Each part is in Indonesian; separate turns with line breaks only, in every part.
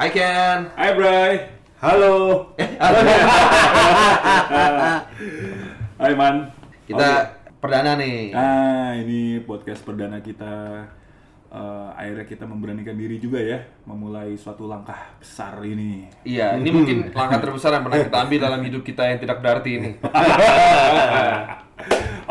Hai Ken.
Hai Bray.
Halo.
Hai Man.
Kita
Oke.
perdana nih.
Nah, ini podcast perdana kita. Eh, akhirnya kita memberanikan diri juga ya, memulai suatu langkah besar ini.
Iya, ini mungkin langkah terbesar yang pernah kita ambil dalam hidup kita yang tidak berarti ini.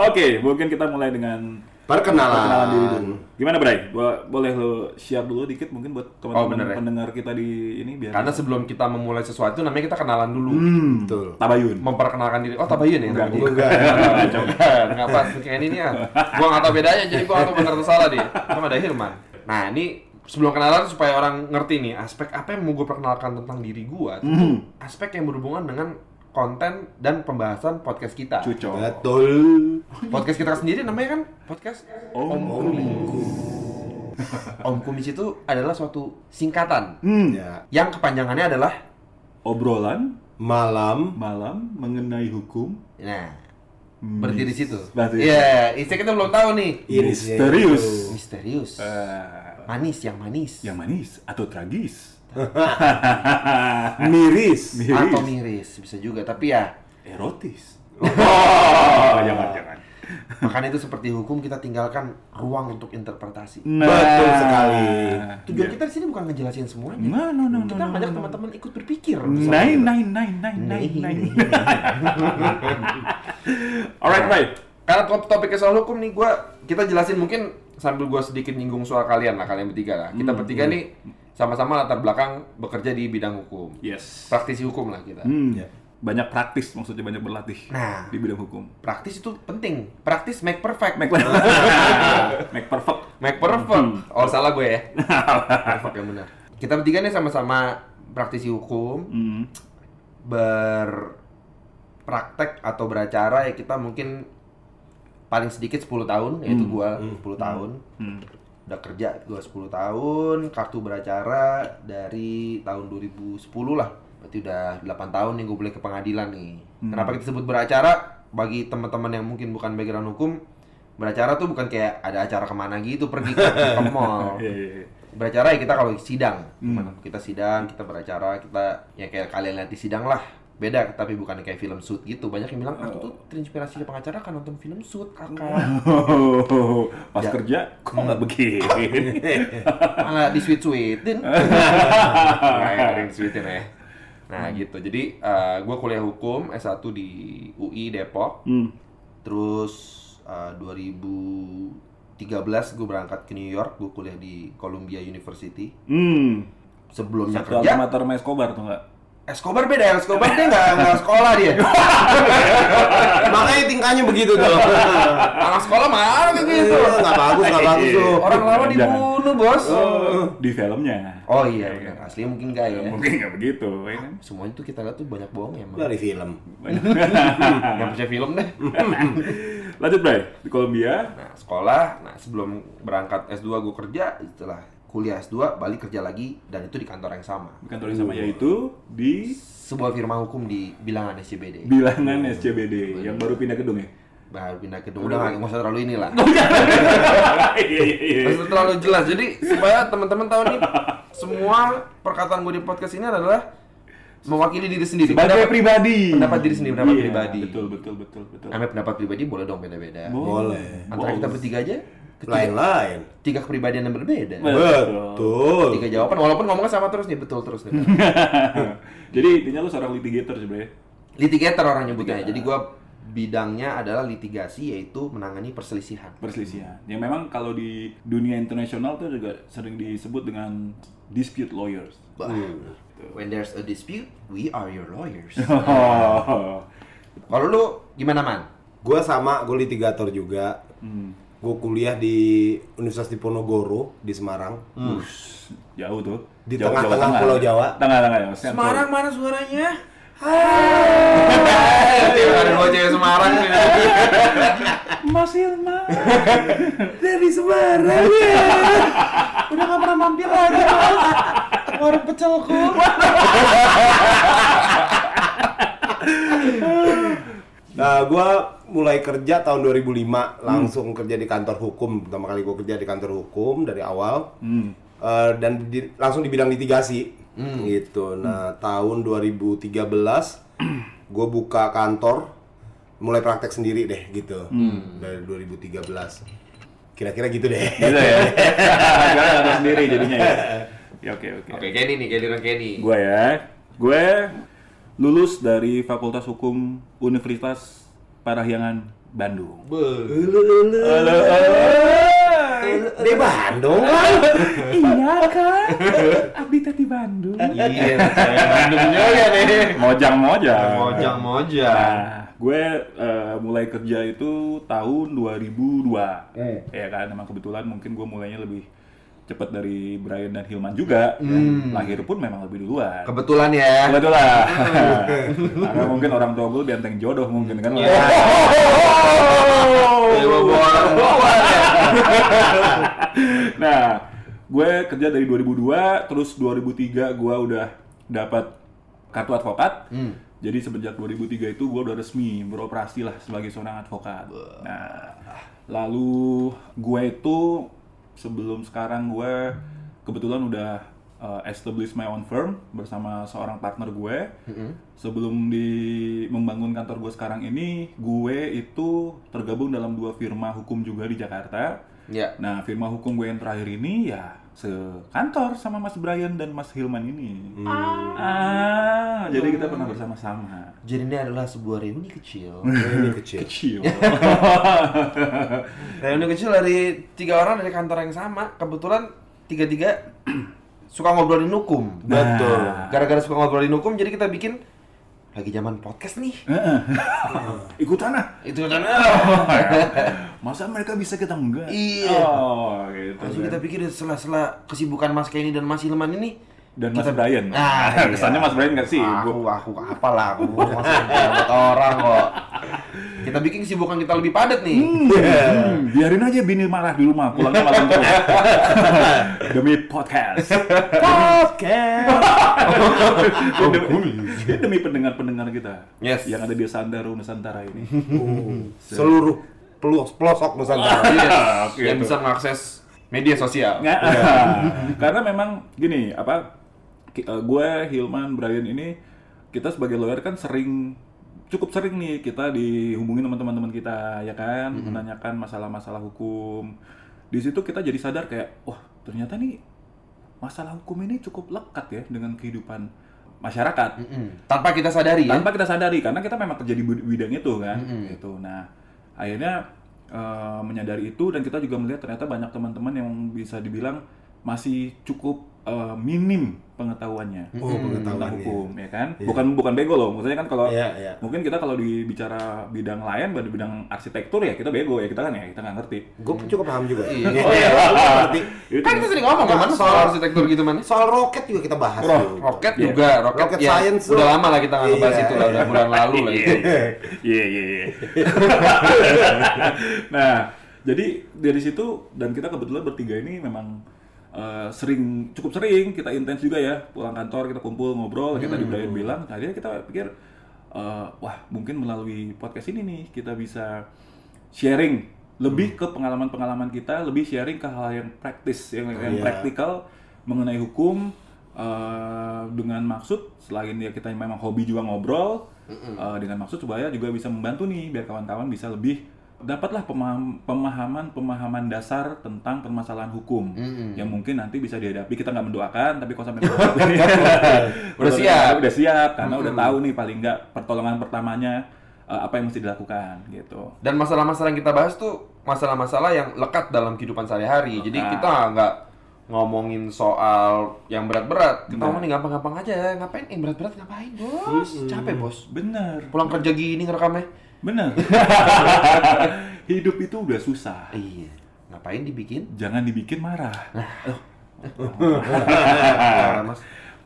Oke, mungkin kita mulai dengan perkenalan diri
Perkenalan.
dulu. Gimana Bray? Bo- boleh lo share dulu dikit mungkin buat teman-teman
bener ya.
pendengar kita di ini biar
Karena sebelum kita memulai sesuatu namanya kita kenalan dulu.
Hmm,
Betul.
Tabayun.
Memperkenalkan diri. Oh, tabayun ya
Enggak,
namanya?
enggak.
Enggak, enggak pas kayak ini ya. Gua enggak tahu bedanya jadi gua nggak tahu benar atau salah deh. Sama ada Hilman. Nah, ini sebelum kenalan supaya orang ngerti nih aspek apa yang mau gue perkenalkan tentang diri gua.
Hmm.
tentu Aspek yang berhubungan dengan konten dan pembahasan podcast kita.
Cuco.
Betul.
Podcast kita sendiri namanya kan podcast
Om
Oh,
Ah.
Om Kumis itu adalah suatu singkatan
Hmm,
Ya.
yang kepanjangannya adalah
obrolan
Malam.
malam mengenai hukum
nah
Hmm,
berarti di situ.
berarti ya. di
Iya, isinya kita belum tahu nih.
misterius.
Misterius.
Eh,
Manis yang manis.
yang manis atau tragis?
Miris.
miris.
Atau miris bisa juga, tapi ya
Erotis. Oh, jangan jangan.
makanya itu seperti hukum kita tinggalkan ruang untuk interpretasi.
Nah.
Betul sekali.
Tujuan
iya.
kita di sini bukan ngejelasin semuanya.
No, no, no, no,
kita
no,
ngajak
no.
teman-teman ikut berpikir.
Nine, nine, nine,
Nine.
nine, nine, nine. Alright, right.
Karena top topiknya soal hukum nih, gua kita jelasin mungkin sambil gua sedikit nyinggung soal kalian lah, kalian bertiga lah.
Hmm,
Kita bertiga nih sama-sama latar belakang bekerja di bidang hukum,
Yes.
praktisi hukum lah kita.
Hmm.
Ya.
Banyak praktis, maksudnya banyak berlatih
Nah.
di bidang hukum.
Praktis itu penting, praktis make perfect,
Make, make perfect. Hmm,
Make perfect. Oh salah gue ya. perfect yang benar. Kita bertiga nih sama-sama praktisi hukum,
Hmm.
berpraktek atau beracara ya kita mungkin paling sedikit 10 tahun, yaitu gua 10 tahun.
Hmm.
Udah kerja gua 10 tahun, kartu beracara dari tahun 2010 lah. Berarti udah 8 tahun nih gue boleh ke pengadilan nih. Kenapa kita sebut beracara? Bagi teman-teman yang mungkin bukan background hukum, beracara tuh bukan kayak ada acara kemana gitu pergi ke, ke mall.
Iya, iya, iya.
beracara ya kita kalau sidang Gimana? kita sidang kita beracara kita ya kayak kalian lihat di sidang lah beda tapi bukan kayak film shoot gitu banyak yang bilang aku tuh terinspirasi dari pengacara kan nonton film shoot kakak
Oh,
Ya.
pas kerja kok nggak begini?
malah di sweet sweetin sweetin ya nah gitu jadi eh, gua kuliah hukum S1 di UI Depok
Hmm.
terus eh, 2013 gue berangkat ke New York gue kuliah di Columbia University
Hmm.
sebelumnya
Satu
kerja
alma mater sama Escobar tuh nggak?
Escobar beda ya, Escobar dia nggak nggak sekolah dia.
Makanya tingkahnya begitu tuh.
Anak sekolah marah kayak gitu.
Enggak bagus, enggak bagus tuh.
Orang lama
Jangan.
dibunuh bos.
Di filmnya.
Oh iya benar, aslinya mungkin nggak ya.
Oh. iya. Mungkin nggak begitu, ya kan?
Semuanya tuh kita lihat tuh banyak bohong ya. emang.
Dari film.
Nggak percaya film deh.
Lanjut, Bray. Di Kolombia.
Nah sekolah, nah sebelum berangkat S2 gue kerja, setelah kuliah S2 balik kerja lagi dan itu di kantor yang sama.
Di kantor yang sama yaitu di
Sebuah firma hukum di bilangan SCBD.
bilangan SCBD yang baru pindah gedung ya.
Baru pindah ke udah nggak nggak usah terlalu inilah.
Iya.
Iya, iya, iya.
Harus terlalu jelas. Jadi supaya teman-teman tahu nih semua perkataan gue di podcast ini adalah mewakili diri sendiri.
Sebagai
Pendapat-
pribadi.
pendapat diri sendiri, pendapat
Iya,
pribadi.
Betul, betul, betul, betul.
Namanya pendapat pribadi boleh dong beda-beda.
Boleh.
Antara kita bertiga aja ketiga-
Lain-lain.
tiga kepribadian yang berbeda.
Betul.
Tiga jawaban walaupun ngomongnya sama terus nih, betul terus nih.
Jadi intinya lu seorang litigator sebenarnya.
Litigator orang nyebutnya. Jadi gua bidangnya adalah litigasi yaitu menangani perselisihan.
perselisihan. Yang memang kalau di dunia internasional tuh juga sering disebut dengan dispute lawyers.
Bah.
Hmm.
When there's a dispute, we are your lawyers.
Oh.
Kalau lu gimana man?
Gua sama, gua litigator juga. Gue kuliah di Universitas Diponegoro di Semarang.
Hmm. Ush, jauh tuh.
Di
Jauh-
tengah-tengah
Jawa
Pulau Jawa.
Tengah-tengah ya. maksudnya
Semarang mana suaranya? Hai. Ada dua cewek Semarang nih.
Pulau- Mas Ilma.
Dari Semarang ya.
Udah gak pernah mampir lagi Warung pecelku
Nah, gue mulai kerja tahun 2005 langsung kerja di kantor hukum. Pertama kali gue kerja di kantor hukum dari awal
Hmm.
Eh, dan di- langsung di bidang litigasi gitu. Nah, tahun 2013 gue buka kantor, mulai praktek sendiri deh gitu dari 2013. Kira-kira gitu deh.
Gitu ya. Sekarang kantor sendiri jadinya ya. Ya oke oke.
Oke, Kenny nih, giliran Kenny.
Gue ya, gue lulus dari Fakultas Hukum Universitas Parahyangan Bandung.
Be-
Di Bandung kan?
Iya kan? Abdi tadi Bandung.
Iya, saya Bandung juga nih.
Mojang mojang.
Mojang mojang.
Nah, gue eh, mulai kerja itu tahun 2002. Ya kan, emang kebetulan mungkin gue mulainya lebih cepat dari Brian dan Hilman juga. Dan Lahir pun memang lebih duluan.
Kebetulan ya.
Kebetulan. Karena mungkin orang tua gue benteng jodoh mungkin kan.
Iya. Dewa Bawang.
nah, gue kerja dari 2002, terus 2003 gue udah dapat kartu advokat. Jadi semenjak 2003 itu gue udah resmi beroperasi lah sebagai seorang advokat. Nah, lalu gue itu sebelum sekarang gue kebetulan udah uh, establish my own firm bersama seorang partner gue. Sebelum di membangun kantor gue sekarang ini, gue itu tergabung dalam dua firma hukum juga di Jakarta.
Ya.
Nah, firma hukum gue yang terakhir ini ya sekantor sama Mas Brian dan Mas Hilman ini.
Hmm.
Ah, jadi kita pernah bersama-sama.
Jadi ini adalah sebuah reuni kecil.
Ini kecil.
Kecil.
reuni kecil dari tiga orang dari kantor yang sama. Kebetulan tiga-tiga suka ngobrolin hukum. Nah,
Betul.
Gara-gara suka ngobrolin hukum, jadi kita bikin lagi zaman podcast nih.
Ikutan ah.
Itu kan.
Masa mereka bisa kita enggak?
Iya.
Oh, gitu.
Langsung
kan.
kita pikir sela-sela kesibukan Mas Kenny dan Mas Hilman ini
Dan Mas Brian.
Ah, iya. Ah,
kesannya Mas Brian nggak sih?
aku aku apalah aku Mas Hilman buat orang kok. Kita bikin kesibukan kita lebih padat nih.
Hmm, biarin aja bini marah di rumah, pulangnya malam terus. Demi podcast. podcast. Demi, demi pendengar-pendengar kita.
Yes.
Yang ada di Sandaro Nusantara ini.
Seluruh pelosok pelosok Nusantara.
Yes,
Oke,
Iya. yang
itu.
bisa mengakses media sosial.
Nggak. Karena memang gini, apa ki- eh, gue Hilman Brian ini kita sebagai lawyer kan sering cukup sering nih kita dihubungin sama teman-teman kita ya kan menanyakan masalah-masalah hukum. Di situ kita jadi sadar kayak wah, ternyata nih masalah hukum ini cukup lekat ya dengan kehidupan masyarakat
Mm-mm. Tanpa kita sadari ya.
tanpa kita sadari karena kita memang kerja di bid- bidang itu kan
Mm-hmm.
gitu nah akhirnya eh, menyadari itu dan kita juga melihat ternyata banyak teman-teman yang bisa dibilang masih cukup eh, minim pengetahuannya
Oh,
tentang
pengetahuannya.
hukum ya kan bukan bukan bego loh maksudnya kan kalau
Iya, iya.
mungkin kita kalau dibicara bidang lain pada bidang arsitektur ya kita bego ya kita kan ya kita nggak ngerti
Gue cukup paham juga.
Oh,
Iya.
Iya, gua ngerti.
Itu.
Kan kita sering ngomong kan Mas, soal arsitektur gitu man.
Soal roket juga kita bahas. tuh.
Roket
Iya.
juga, roket,
Rocket
ya,
science
udah
tuh.
lama lah kita nggak ngebahas
Iya.
itu lah, udah bulan lalu lah itu.
Iya, iya, iya. Nah, jadi dari situ dan kita kebetulan bertiga ini memang eh, sering cukup sering kita intens juga ya pulang kantor kita kumpul ngobrol kita di Brian bilang akhirnya kita pikir eh, wah mungkin melalui podcast ini nih kita bisa sharing lebih ke pengalaman-pengalaman kita lebih sharing ke hal yang praktis yang, yang
Iya.
praktikal mengenai hukum eh, dengan maksud selain ya kita memang hobi juga ngobrol eh, dengan maksud supaya juga bisa membantu nih biar kawan-kawan bisa lebih dapatlah pemaham- pemahaman-pemahaman dasar tentang permasalahan hukum
Hmm.
yang mungkin nanti bisa dihadapi kita nggak mendoakan tapi kalau sampai menghadapi-
Iya. Udah siap. Hmm.
udah siap karena udah tahu nih paling nggak pertolongan pertamanya eh, apa yang mesti dilakukan gitu
Dan masalah-masalah yang kita bahas tuh masalah-masalah yang lekat dalam kehidupan sehari-hari. Jadi kita nggak ngomongin soal yang berat-berat. Kita ngomongin gampang-gampang aja. Ngapain? Yang berat-berat ngapain, bos? Capek, bos.
bener
Pulang kerja gini ngerekamnya.
bener hidup itu udah susah
Iya. Ngapain dibikin?
jangan dibikin marah.
Nah.
Oh. Loh,
Parah, Nah, mas.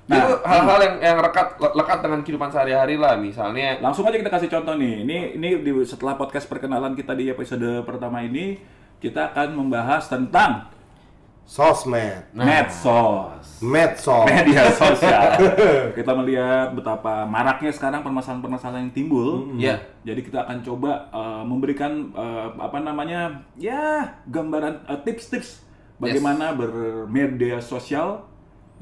Itu hal-hal yang yang lekat lekat dengan kehidupan sehari-hari lah. Misalnya,
langsung aja kita kasih contoh nih. Ini ini di, setelah podcast perkenalan kita di episode pertama ini kita akan membahas tentang
sosmed,
medsos
medsos,
media sosial kita melihat betapa maraknya sekarang permasalahan-permasalahan yang timbul
Iya.
jadi kita akan coba eh, memberikan eh, apa namanya ya gambaran eh, tips-tips bagaimana bermedia sosial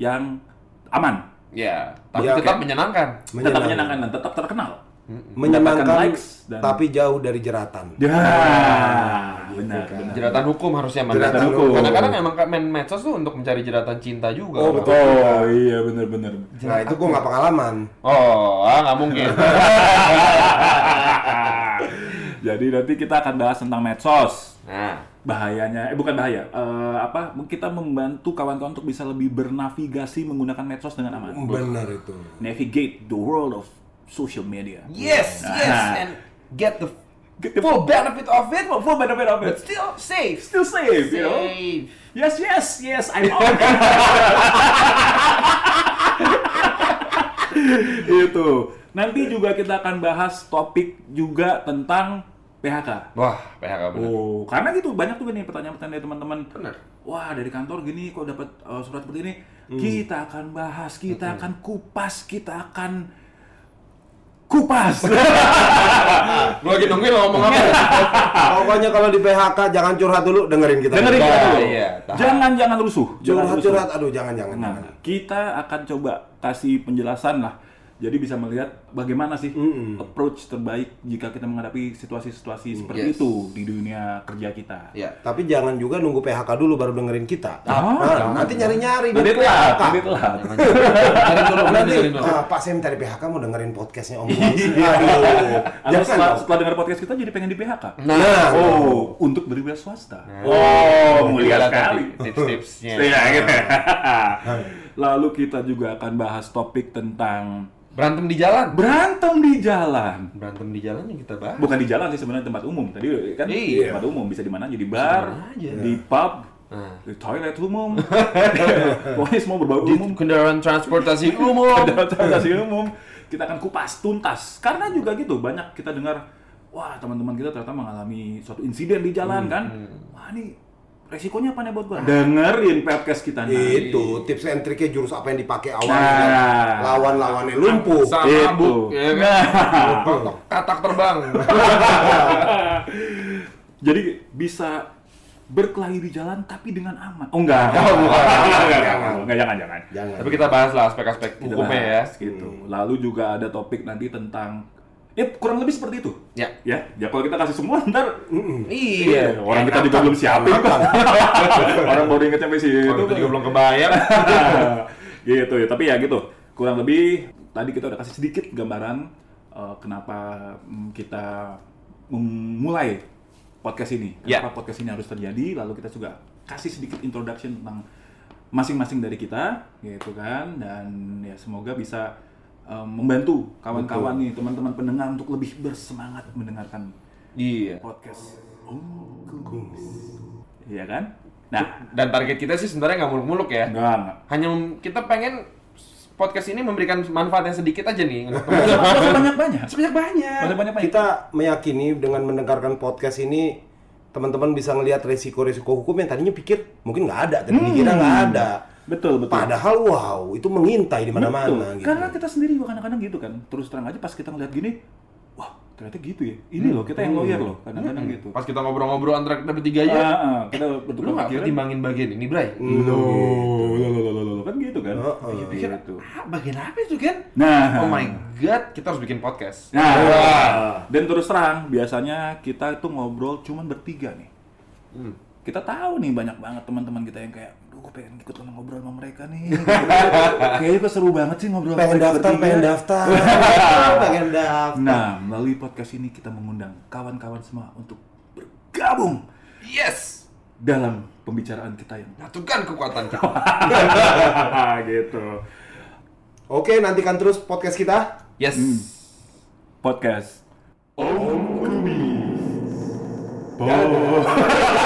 yang aman
Ya, tapi
Ya,
tetap menyenangkan.
tetap
Menyenang-
menyenangkan dan tetap terkenal Mendapatkan
menyenangkan,
likes dan-
tapi jauh dari jeratan.
ya
gitu
benar
kan.
benar
Jeratan hukum harusnya men.
Jeratan hukum.
Kadang-kadang memang ka- main medsos tuh untuk mencari jeratan cinta juga.
Oh,
orang.
betul.
oh iya benar benar
Nah itu gue nggak pengalaman.
Oh, ah nggak mungkin.
jadi nanti kita akan bahas tentang medsos
nah,
bahayanya eh bukan bahaya eh, apa kita membantu kawan-kawan untuk bisa lebih bernavigasi menggunakan medsos dengan aman
Bener itu.
navigate the world of social media
yes,
Nah.
yes, and get the
Get the
full benefit of it,
Oh, full benefit of
but
it
still safe.
still safe you know
Safe.
yes yes yes I'm on itu nanti juga kita akan bahas topik juga tentang PHK
Wah, PHK bener.
Oh, karena gitu banyak juga nih pertanyaan-pertanyaan dari teman-teman.
Bener.
Wah, dari kantor gini kok dapat uh, surat seperti ini. Kita akan bahas, kita akan kupas, kita akan kupas.
Gue lagi nungguin lo ngomong apa.
Pokoknya kalau di PHK jangan curhat dulu, dengerin kita.
Ah. Dengerin kita dulu.
Iya, tahan.
Jangan jangan rusuh. Jangan
Curhat
rusuh.
curhat, aduh jangan jangan.
Nah,
jangan.
kita akan coba kasih penjelasan lah. Jadi bisa melihat bagaimana sih approach terbaik jika kita menghadapi situasi-situasi
Yes.
seperti itu di dunia kerja kita.
Iya.
Tapi jangan juga nunggu PHK dulu baru dengerin kita.
Ah,
Nah, nanti nyari-nyari di
Nanti telat, nanti telat.
Dengerin dulu,
Nanti,
dengerin dulu.
ah, Pak Sam dari PHK mau dengerin podcastnya Om Bos.
Iya.
Aduh,
Atau setelah,
jangan dong.
setelah dengar podcast kita jadi pengen di PHK.
Nah,
Oh, untuk berwira swasta.
Oh,
mulia
gila
sekali.
tadi Tips-tipsnya.
Iya, gitu. Lalu kita juga akan bahas topik tentang
Berantem di jalan.
berantem di jalan.
Berantem di jalan yang kita bahas.
Bukan di jalan sih sebenarnya tempat umum. Tadi kan di
Iya.
tempat umum bisa di mana aja di
Bisa
bar,
di mana aja.
di pub,
Nah.
di toilet umum. Pokoknya semua berbau
Di
umum.
kendaraan transportasi umum.
Ada transportasi umum. Kita akan kupas tuntas. Karena juga gitu banyak kita dengar, wah teman-teman kita ternyata mengalami suatu insiden di jalan kan. Wah ini resikonya apa nih buat gua? Dengerin podcast kita nih.
Itu tips and triknya jurus apa yang dipakai awal
iya. Nah.
dengan lawan-lawannya lumpuh.
Sama
Itu.
mabuk, ya kan?
Tok.
Katak terbang.
Jadi bisa berkelahi di jalan tapi dengan aman. Oh enggak.
Oh, bukan.
Enggak, jangan. Enggak, jangan, jangan.
Jangan.
Tapi kita bahas lah aspek-aspek
Kita
hukumnya ya.
bahas gitu. Lalu juga ada topik nanti tentang ya kurang lebih seperti itu.
Ya.
Ya, ya kalau kita kasih semua ntar
Iya.
orang kita juga belum siapin kok. orang baru inget sampai situ.
Orang kita juga belum kebayang.
gitu ya, tapi ya gitu. Kurang lebih tadi kita udah kasih sedikit gambaran eh, kenapa mm, kita memulai podcast ini.
Ya.
Kenapa podcast ini harus terjadi, lalu kita juga kasih sedikit introduction tentang masing-masing dari kita gitu kan dan ya semoga bisa eh, membantu kawan-kawan nih teman-teman pendengar untuk lebih bersemangat mendengarkan
Iya.
podcast Oh, Iya kan? Nah,
Dan target kita sih sebenarnya nggak muluk-muluk ya.
enggak, enggak.
Hanya mem- kita pengen podcast ini memberikan manfaat yang sedikit aja nih untuk teman.
Sebanyak-banyak.
Sebanyak-banyak.
Sebanyak-banyak.
Kita meyakini dengan mendengarkan podcast ini teman-teman bisa ngelihat resiko-resiko hukum yang tadinya pikir mungkin nggak ada,
Hmm.
tapi dikira nggak ada.
Betul, betul.
Padahal wow, itu mengintai di
Betul.
mana-mana gitu.
Karena kita sendiri juga kadang-kadang gitu kan. Terus terang aja pas kita ngeliat gini, wah ternyata gitu ya. Ini loh kita yang
Hmm.
lawyer loh, kadang-kadang gitu.
Pas kita ngobrol-ngobrol antara kita bertiga aja.
Ah, ah, kita
Eh,
betul
lu nggak pertimbangin bagian ini, Bray?
Lo, lo, lo, lo, lo, lo, kan gitu kan.
Heeh.
Iya, pikir itu.
Ah, bagian apa itu kan?
Nah,
Oh my god, kita harus bikin podcast.
Nah,
Wah.
dan terus terang biasanya kita itu ngobrol cuman bertiga nih.
Hmm.
Kita tahu nih banyak banget teman-teman kita yang kayak, duh gue pengen ikut sama ngobrol sama mereka nih. Kayaknya kok seru banget sih ngobrol mereka
Pengen daftar,
bertiga.
pengen daftar. pengen daftar.
Nah, melalui podcast ini kita mengundang kawan-kawan semua untuk bergabung
Yes!
dalam pembicaraan kita yang
Nyatukan kekuatan kita.
gitu.
Oke, nantikan terus podcast kita.
Yes.
Podcast. Om Kumis.